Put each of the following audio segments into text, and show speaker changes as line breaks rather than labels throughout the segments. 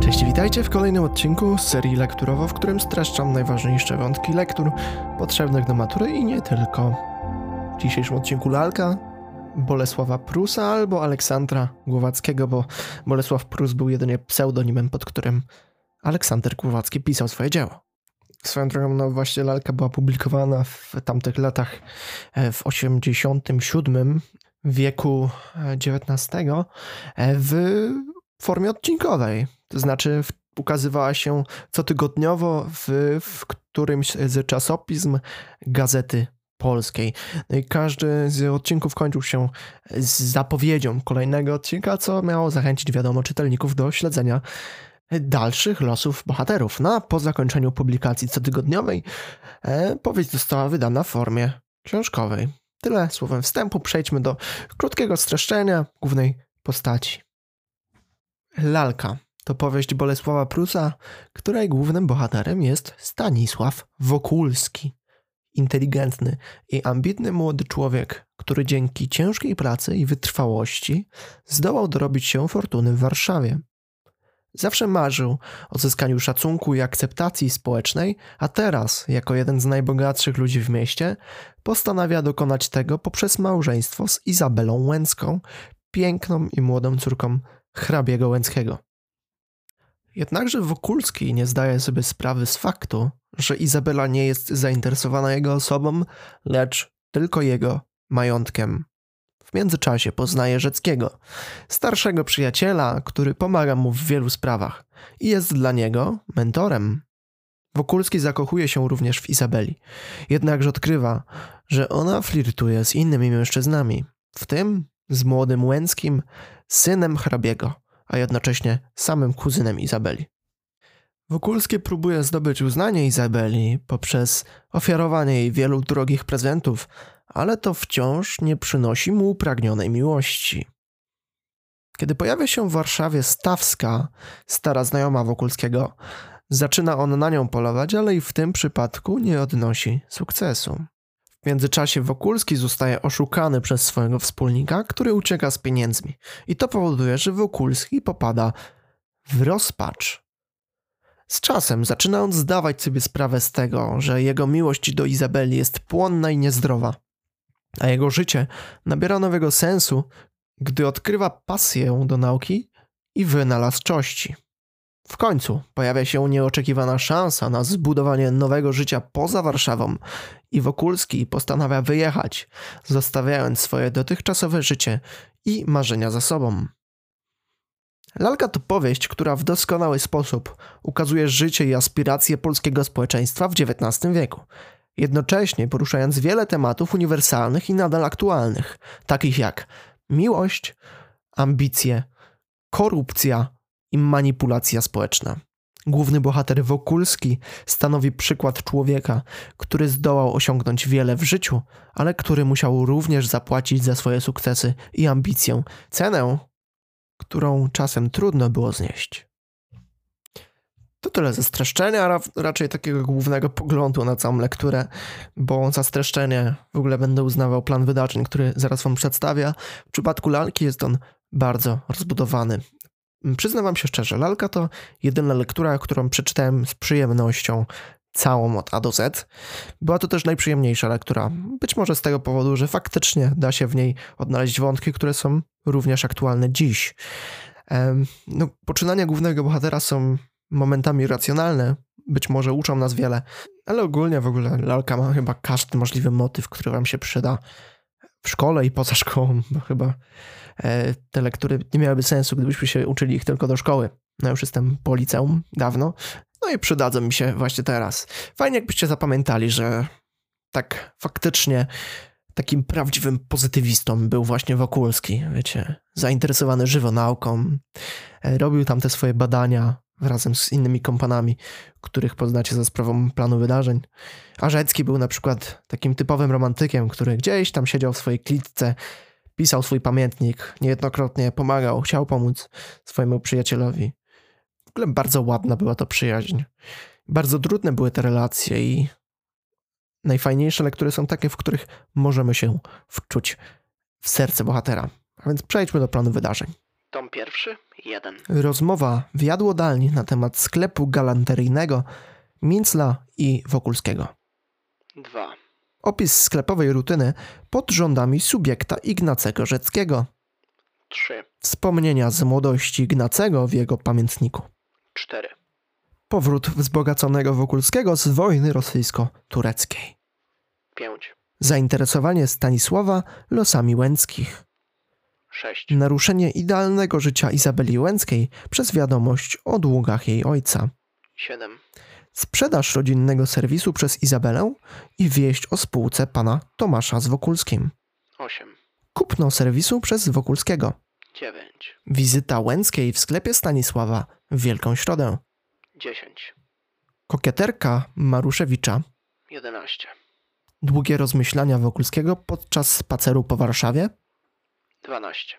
Cześć, witajcie w kolejnym odcinku z serii lekturowo, w którym streszczam najważniejsze wątki lektur potrzebnych do matury i nie tylko. W dzisiejszym odcinku lalka Bolesława Prusa albo Aleksandra Głowackiego, bo Bolesław Prus był jedynie pseudonimem, pod którym Aleksander Głowacki pisał swoje dzieło. Swoją drogą, no właśnie lalka była publikowana w tamtych latach e, w 87 wieku e, XIX e, w formie odcinkowej. To znaczy w, ukazywała się cotygodniowo w, w którymś z czasopism Gazety Polskiej. No i każdy z odcinków kończył się z zapowiedzią kolejnego odcinka, co miało zachęcić, wiadomo, czytelników do śledzenia dalszych losów bohaterów. No a po zakończeniu publikacji cotygodniowej e, powieść została wydana w formie książkowej. Tyle słowem wstępu, przejdźmy do krótkiego streszczenia głównej postaci. Lalka to powieść Bolesława Prusa, której głównym bohaterem jest Stanisław Wokulski. Inteligentny i ambitny młody człowiek, który dzięki ciężkiej pracy i wytrwałości zdołał dorobić się fortuny w Warszawie. Zawsze marzył o zyskaniu szacunku i akceptacji społecznej, a teraz, jako jeden z najbogatszych ludzi w mieście, postanawia dokonać tego poprzez małżeństwo z Izabelą Łęcką, piękną i młodą córką hrabiego Łęckiego. Jednakże Wokulski nie zdaje sobie sprawy z faktu, że Izabela nie jest zainteresowana jego osobą, lecz tylko jego majątkiem. W międzyczasie poznaje Rzeckiego, starszego przyjaciela, który pomaga mu w wielu sprawach i jest dla niego mentorem. Wokulski zakochuje się również w Izabeli, jednakże odkrywa, że ona flirtuje z innymi mężczyznami, w tym z młodym Łęckim, synem hrabiego, a jednocześnie samym kuzynem Izabeli. Wokulski próbuje zdobyć uznanie Izabeli poprzez ofiarowanie jej wielu drogich prezentów, ale to wciąż nie przynosi mu upragnionej miłości. Kiedy pojawia się w Warszawie Stawska, stara znajoma Wokulskiego, zaczyna on na nią polować, ale i w tym przypadku nie odnosi sukcesu. W międzyczasie Wokulski zostaje oszukany przez swojego wspólnika, który ucieka z pieniędzmi. I to powoduje, że Wokulski popada w rozpacz. Z czasem zaczyna on zdawać sobie sprawę z tego, że jego miłość do Izabeli jest płonna i niezdrowa, a jego życie nabiera nowego sensu, gdy odkrywa pasję do nauki i wynalazczości. W końcu pojawia się nieoczekiwana szansa na zbudowanie nowego życia poza Warszawą i Wokulski postanawia wyjechać, zostawiając swoje dotychczasowe życie i marzenia za sobą. Lalka to powieść, która w doskonały sposób ukazuje życie i aspiracje polskiego społeczeństwa w XIX wieku, jednocześnie poruszając wiele tematów uniwersalnych i nadal aktualnych, takich jak miłość, ambicje, korupcja i manipulacja społeczna. Główny bohater Wokulski stanowi przykład człowieka, który zdołał osiągnąć wiele w życiu, ale który musiał również zapłacić za swoje sukcesy i ambicję cenę, którą czasem trudno było znieść. To tyle ze streszczenia, a ra- raczej takiego głównego poglądu na całą lekturę, bo za streszczenie w ogóle będę uznawał plan wydarzeń, który zaraz wam przedstawię. W przypadku lalki jest on bardzo rozbudowany. Przyznam wam się szczerze, lalka to jedyna lektura, którą przeczytałem z przyjemnością całą od A do Z. Była to też najprzyjemniejsza lektura. Być może z tego powodu, że faktycznie da się w niej odnaleźć wątki, które są również aktualne dziś. Em, No, poczynania głównego bohatera są momentami racjonalne, być może uczą nas wiele, ale ogólnie w ogóle lalka ma chyba każdy możliwy motyw, który wam się przyda w szkole i poza szkołą, bo chyba e, te lektury nie miałyby sensu, gdybyśmy się uczyli ich tylko do szkoły. No już jestem po liceum dawno, no i przydadzą mi się właśnie teraz. Fajnie jakbyście zapamiętali, że tak faktycznie takim prawdziwym pozytywistą był właśnie Wokulski, wiecie, zainteresowany żywo nauką. E, Robił tam te swoje badania razem z innymi kompanami, których poznacie za sprawą planu wydarzeń. A Rzecki był na przykład takim typowym romantykiem, który gdzieś tam siedział w swojej klitce, pisał swój pamiętnik, niejednokrotnie pomagał, chciał pomóc swojemu przyjacielowi. W ogóle bardzo ładna była to przyjaźń. Bardzo trudne były te relacje i najfajniejsze lektury są takie, w których możemy się wczuć w serce bohatera. A więc przejdźmy do planu wydarzeń.
Tom pierwszy, jeden.
Rozmowa w jadłodalni na temat sklepu galanteryjnego Mincla i Wokulskiego.
Dwa.
Opis sklepowej rutyny pod rządami subiekta Ignacego Rzeckiego.
Trzy.
Wspomnienia z młodości Ignacego w jego pamiętniku.
Cztery.
Powrót wzbogaconego Wokulskiego z wojny rosyjsko-tureckiej.
Pięć.
Zainteresowanie Stanisława losami Łęckich.
Sześć.
Mm. Naruszenie idealnego życia Izabeli Łęckiej przez wiadomość o długach jej ojca.
Siedem.
Sprzedaż rodzinnego serwisu przez Izabelę i wieść o spółce pana Tomasza z Wokulskim.
Osiem.
Kupno serwisu przez Wokulskiego.
Dziewięć.
Wizyta Łęckiej w sklepie Stanisława w Wielką Środę.
Dziesięć.
Kokieterka Maruszewicza.
Jedenaście.
Długie rozmyślania Wokulskiego podczas spaceru po Warszawie.
Dwanaście.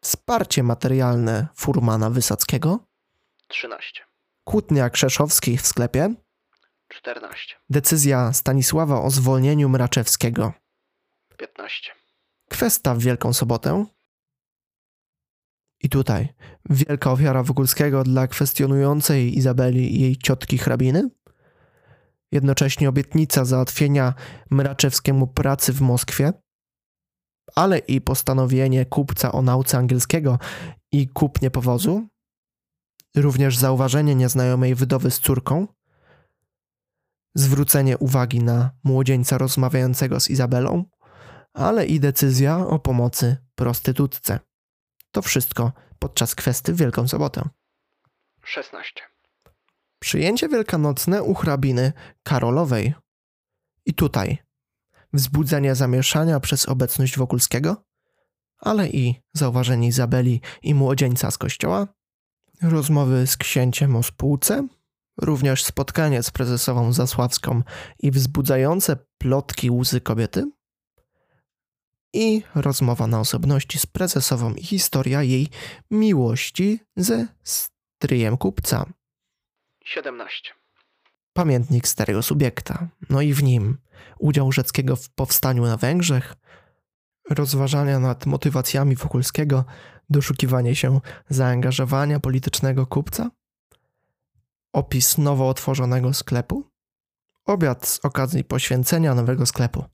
Wsparcie materialne Furmana Wysockiego.
Trzynaście.
Kłótnia Krzeszowskich w sklepie.
Czternaście.
Decyzja Stanisława o zwolnieniu Mraczewskiego.
Piętnaście.
Kwesta w Wielką Sobotę. I tutaj wielka ofiara Wokulskiego dla kwestionującej Izabeli i jej ciotki hrabiny. Jednocześnie obietnica załatwienia Mraczewskiemu pracy w Moskwie, ale i postanowienie kupca o nauce angielskiego i kupnie powozu. Również zauważenie nieznajomej wydowy z córką. Zwrócenie uwagi na młodzieńca rozmawiającego z Izabelą ale i decyzja o pomocy prostytutce. To wszystko podczas kwesty w Wielką Sobotę.
Szesnaście.
Przyjęcie wielkanocne u hrabiny Karolowej. I tutaj wzbudzenie zamieszania przez obecność Wokulskiego, ale i zauważenie Izabeli i młodzieńca z kościoła, rozmowy z księciem o spółce, również spotkanie z prezesową Zasławską i wzbudzające plotki łzy kobiety i rozmowa na osobności z prezesową i historia jej miłości ze stryjem kupca
Siedemnaście.
pamiętnik starego subiekta, no i w nim udział Rzeckiego w powstaniu na Węgrzech, rozważania nad motywacjami Wokulskiego, doszukiwanie się zaangażowania politycznego kupca, opis nowo otworzonego sklepu, obiad z okazji poświęcenia nowego sklepu,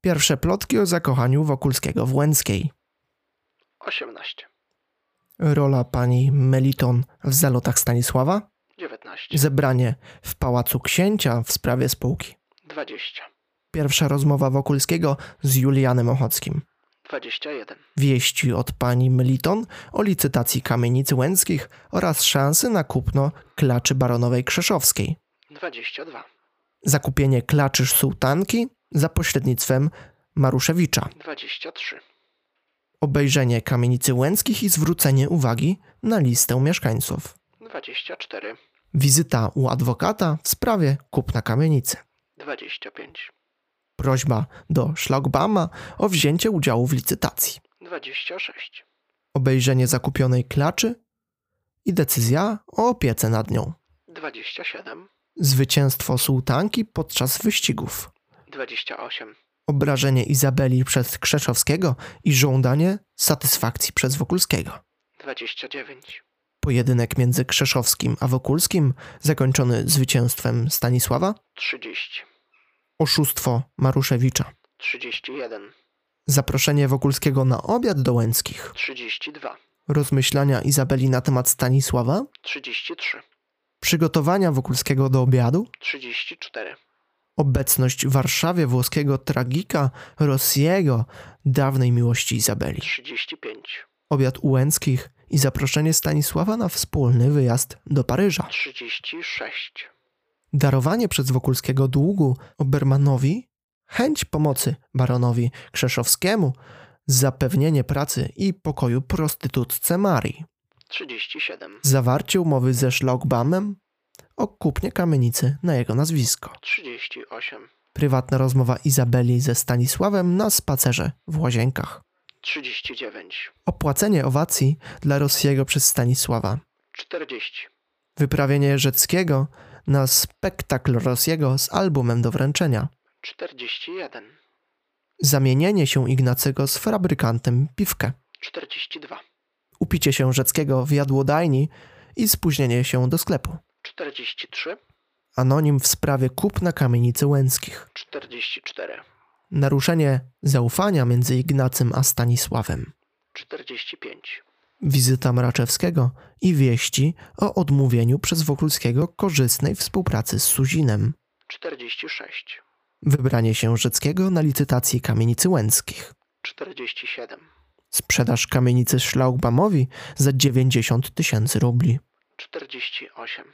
pierwsze plotki o zakochaniu Wokulskiego w Łęckiej,
Osiemnaście.
rola pani Meliton w zalotach Stanisława,
Dziewiętnaście.
zebranie w pałacu księcia w sprawie spółki.
Dwadzieścia.
Pierwsza rozmowa Wokulskiego z Julianem Ochockim.
Dwadzieścia jeden.
Wieści od pani Meliton o licytacji kamienic łęckich oraz szansy na kupno klaczy baronowej Krzeszowskiej.
Dwadzieścia dwa.
Zakupienie klaczy sułtanki za pośrednictwem Maruszewicza.
Dwadzieścia trzy.
Obejrzenie kamienicy łęckich i zwrócenie uwagi na listę mieszkańców.
Dwadzieścia cztery.
Wizyta u adwokata w sprawie kupna kamienicy.
Dwadzieścia pięć.
Prośba do Szlagbauma o wzięcie udziału w licytacji.
Dwadzieścia sześć.
obejrzenie zakupionej klaczy i decyzja o opiece nad nią.
Dwadzieścia siedem.
Zwycięstwo sułtanki podczas wyścigów,
Dwadzieścia osiem.
obrażenie Izabeli przez Krzeszowskiego i żądanie satysfakcji przez Wokulskiego.
Dwadzieścia dziewięć.
Pojedynek między Krzeszowskim a Wokulskim, zakończony zwycięstwem Stanisława,
Trzydzieści.
oszustwo Maruszewicza,
Trzydzieści jeden.
zaproszenie Wokulskiego na obiad do Łęckich,
Trzydzieści dwa.
rozmyślania Izabeli na temat Stanisława,
Trzydzieści trzy.
przygotowania Wokulskiego do obiadu,
Trzydzieści cztery.
obecność w Warszawie włoskiego tragika Rossiego, dawnej miłości Izabeli,
Trzydzieści pięć.
obiad u Łęckich i zaproszenie Stanisława na wspólny wyjazd do Paryża,
Trzydzieści sześć.
darowanie przez Wokulskiego długu Obermanowi, chęć pomocy baronowi Krzeszowskiemu, zapewnienie pracy i pokoju prostytutce Marii,
Trzydzieści siedem.
zawarcie umowy ze Szlogbaumem o kupnie kamienicy na jego nazwisko.
Trzydzieści osiem.
Prywatna rozmowa Izabeli ze Stanisławem na spacerze w Łazienkach.
Trzydzieści dziewięć.
Opłacenie owacji dla Rosjego przez Stanisława.
Czterdzieści.
Wyprawienie Rzeckiego na spektakl Rosjego z albumem do wręczenia.
Czterdzieści jeden.
Zamienienie się Ignacego z fabrykantem piwkę.
Czterdzieści dwa.
upicie się rzeckiego w jadłodajni i spóźnienie się do sklepu.
43,
Anonim w sprawie kup na kamienicy Łęckich.
44,
Naruszenie zaufania między Ignacym a Stanisławem.
45,
Wizyta Mraczewskiego i wieści o odmówieniu przez Wokulskiego korzystnej współpracy z Suzinem.
46,
Wybranie się Rzeckiego na licytacji kamienicy Łęckich.
47,
Sprzedaż kamienicy Szlaugbamowi za 90 tysięcy rubli.
48,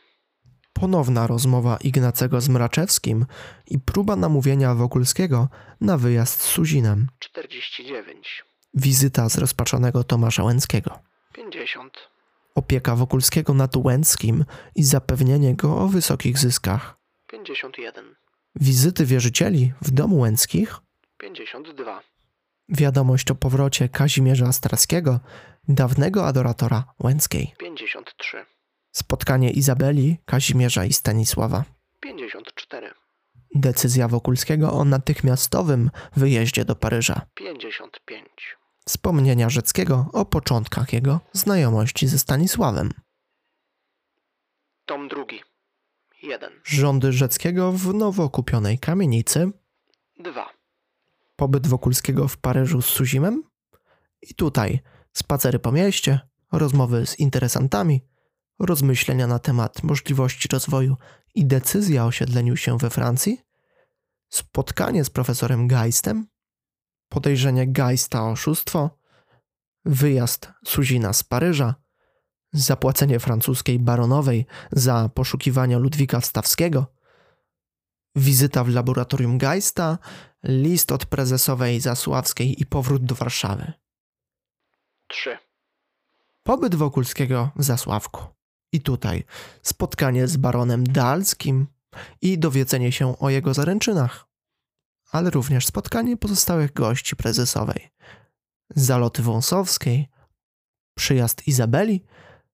Ponowna rozmowa Ignacego z Mraczewskim i próba namówienia Wokulskiego na wyjazd z Suzinem.
49,
Wizyta zrozpaczonego Tomasza Łęckiego.
50,
Opieka Wokulskiego nad Łęckim i zapewnienie go o wysokich zyskach.
51,
Wizyty wierzycieli w domu Łęckich.
52,
Wiadomość o powrocie Kazimierza Starskiego, dawnego adoratora Łęckiej.
53,
Spotkanie Izabeli, Kazimierza i Stanisława.
54,
Decyzja Wokulskiego o natychmiastowym wyjeździe do Paryża.
55,
Wspomnienia Rzeckiego o początkach jego znajomości ze Stanisławem.
tom drugi, 1,
Rządy Rzeckiego w nowo kupionej kamienicy.
2,
Pobyt Wokulskiego w Paryżu z Suzimem. I tutaj spacery po mieście, rozmowy z interesantami, rozmyślenia na temat możliwości rozwoju i decyzja o osiedleniu się we Francji. Spotkanie z profesorem Geistem. Podejrzenie Geista o oszustwo. Wyjazd Suzina z Paryża. Zapłacenie francuskiej baronowej za poszukiwania Ludwika Stawskiego. Wizyta w laboratorium Geista list od prezesowej Zasławskiej i powrót do Warszawy.
3,
Pobyt Wokulskiego w Zasławku. I tutaj spotkanie z baronem Dalskim i dowiedzenie się o jego zaręczynach, ale również spotkanie pozostałych gości prezesowej. Zaloty Wąsowskiej, przyjazd Izabeli,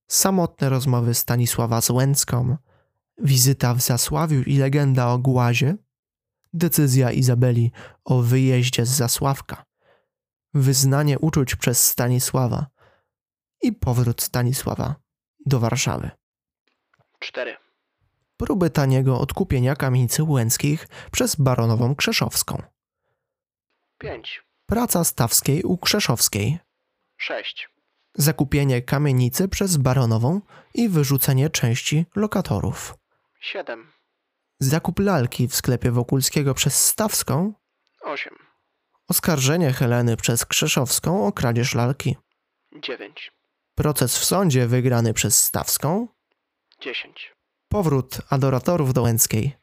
samotne rozmowy Stanisława z Łęcką, wizyta w Zasławiu i legenda o Głazie, decyzja Izabeli o wyjeździe z Zasławka, wyznanie uczuć przez Stanisława – i powrót Stanisława do Warszawy.
4,
Próby taniego odkupienia kamienicy łęckich przez baronową Krzeszowską.
5,
Praca Stawskiej u Krzeszowskiej.
6,
Zakupienie kamienicy przez baronową i wyrzucenie części lokatorów.
7,
Zakup lalki w sklepie Wokulskiego przez Stawską.
8,
Oskarżenie Heleny przez Krzeszowską o kradzież lalki.
9,
Proces w sądzie wygrany przez Stawską.
10,
Powrót adoratorów do Łęckiej.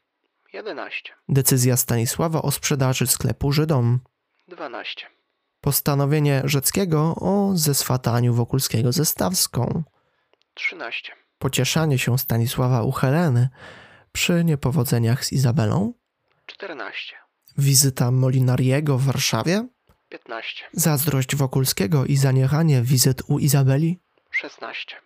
11,
Decyzja Stanisława o sprzedaży sklepu Żydom.
12,
Postanowienie Rzeckiego o zeswataniu Wokulskiego ze Stawską.
13,
Pocieszanie się Stanisława u Heleny przy niepowodzeniach z Izabelą.
14,
Wizyta Molinariego w Warszawie.
15,
Zazdrość Wokulskiego i zaniechanie wizyt u Izabeli.
16,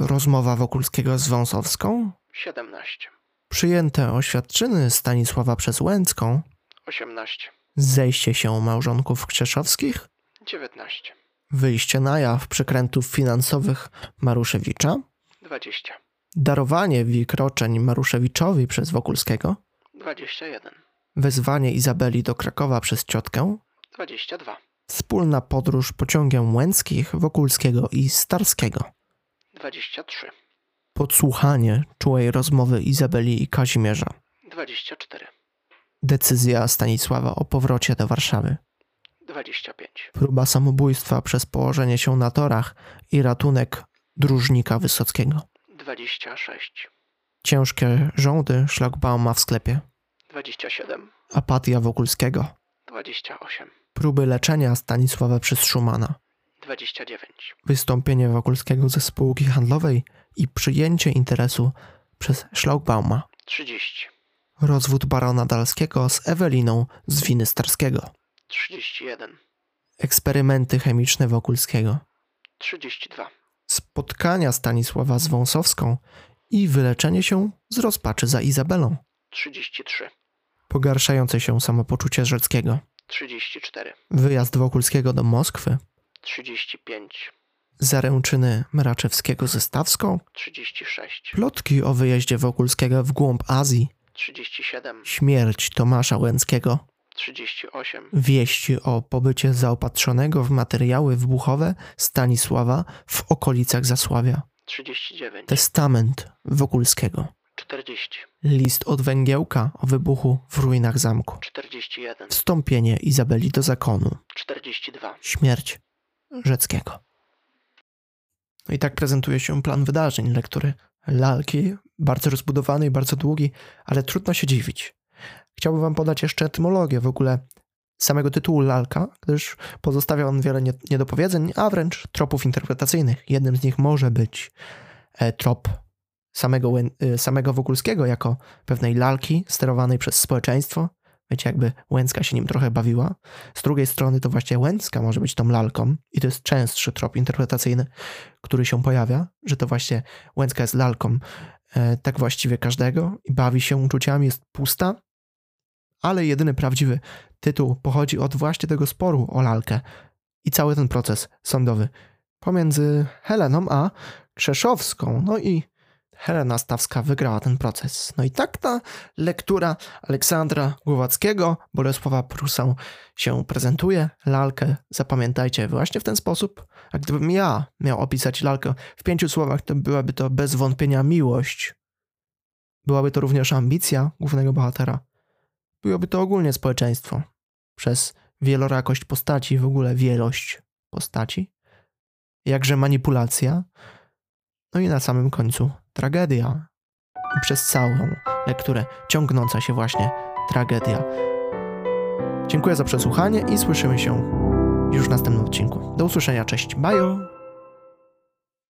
Rozmowa Wokulskiego z Wąsowską.
17,
Przyjęte oświadczyny Stanisława przez Łęcką.
18,
Zejście się małżonków Krzeszowskich.
19,
Wyjście na jaw przekrętów finansowych Maruszewicza.
20,
darowanie wikroczeń Maruszewiczowi przez Wokulskiego,
21,
wezwanie Izabeli do Krakowa przez ciotkę,
22,
wspólna podróż pociągiem Łęckich, Wokulskiego i Starskiego,
23,
podsłuchanie czułej rozmowy Izabeli i Kazimierza,
24,
decyzja Stanisława o powrocie do Warszawy,
25,
próba samobójstwa przez położenie się na torach i ratunek dróżnika Wysockiego,
26,
ciężkie żołdy szlagbauma w sklepie,
27,
apatia Wokulskiego,
28,
próby leczenia Stanisława przez Szumana.
29,
wystąpienie Wokulskiego ze spółki handlowej i przyjęcie interesu przez Szlaugbauma,
30,
rozwód barona Dalskiego z Eweliną z winy Starskiego,
31,
eksperymenty chemiczne Wokulskiego,
32,
spotkania Stanisława z Wąsowską i wyleczenie się z rozpaczy za Izabelą,
33,
pogarszające się samopoczucie Rzeckiego,
34,
wyjazd Wokulskiego do Moskwy,
35,
Zaręczyny Mraczewskiego ze Stawską,
36,
plotki o wyjeździe Wokulskiego w głąb Azji,
37,
śmierć Tomasza Łęckiego,
38,
wieści o pobycie zaopatrzonego w materiały wybuchowe Stanisława w okolicach Zasławia,
39,
testament Wokulskiego,
40,
list od Węgiełka o wybuchu w ruinach zamku,
41,
wstąpienie Izabeli do zakonu,
42.
śmierć Rzeckiego. No i tak prezentuje się plan wydarzeń lektury lalki, bardzo rozbudowany i bardzo długi, ale trudno się dziwić. Chciałbym wam podać jeszcze etymologię w ogóle samego tytułu lalka, gdyż pozostawia on wiele nie- niedopowiedzeń, a wręcz tropów interpretacyjnych. Jednym z nich może być e, trop samego, Łę- e, samego Wokulskiego jako pewnej lalki sterowanej przez społeczeństwo. Wiecie, jakby Łęcka się nim trochę bawiła. Z drugiej strony to właśnie Łęcka może być tą lalką i to jest częstszy trop interpretacyjny, który się pojawia, że to właśnie Łęcka jest lalką e, tak właściwie każdego i bawi się uczuciami, jest pusta, ale jedyny prawdziwy tytuł pochodzi od właśnie tego sporu o lalkę i cały ten proces sądowy pomiędzy Heleną a Krzeszowską. No i Helena Stawska wygrała ten proces. No i tak ta lektura Aleksandra Głowackiego, Bolesława Prusę się prezentuje lalkę, zapamiętajcie właśnie w ten sposób. A gdybym ja miał opisać lalkę w pięciu słowach, to byłaby to bez wątpienia miłość. Byłaby to również ambicja głównego bohatera. Byłoby to ogólnie społeczeństwo. Przez wielorakość postaci, w ogóle wielość postaci. Jakże manipulacja. No i na samym końcu tragedia. I przez całą lekturę ciągnąca się właśnie tragedia. Dziękuję za przesłuchanie i słyszymy się już w następnym odcinku. Do usłyszenia, cześć, bajo!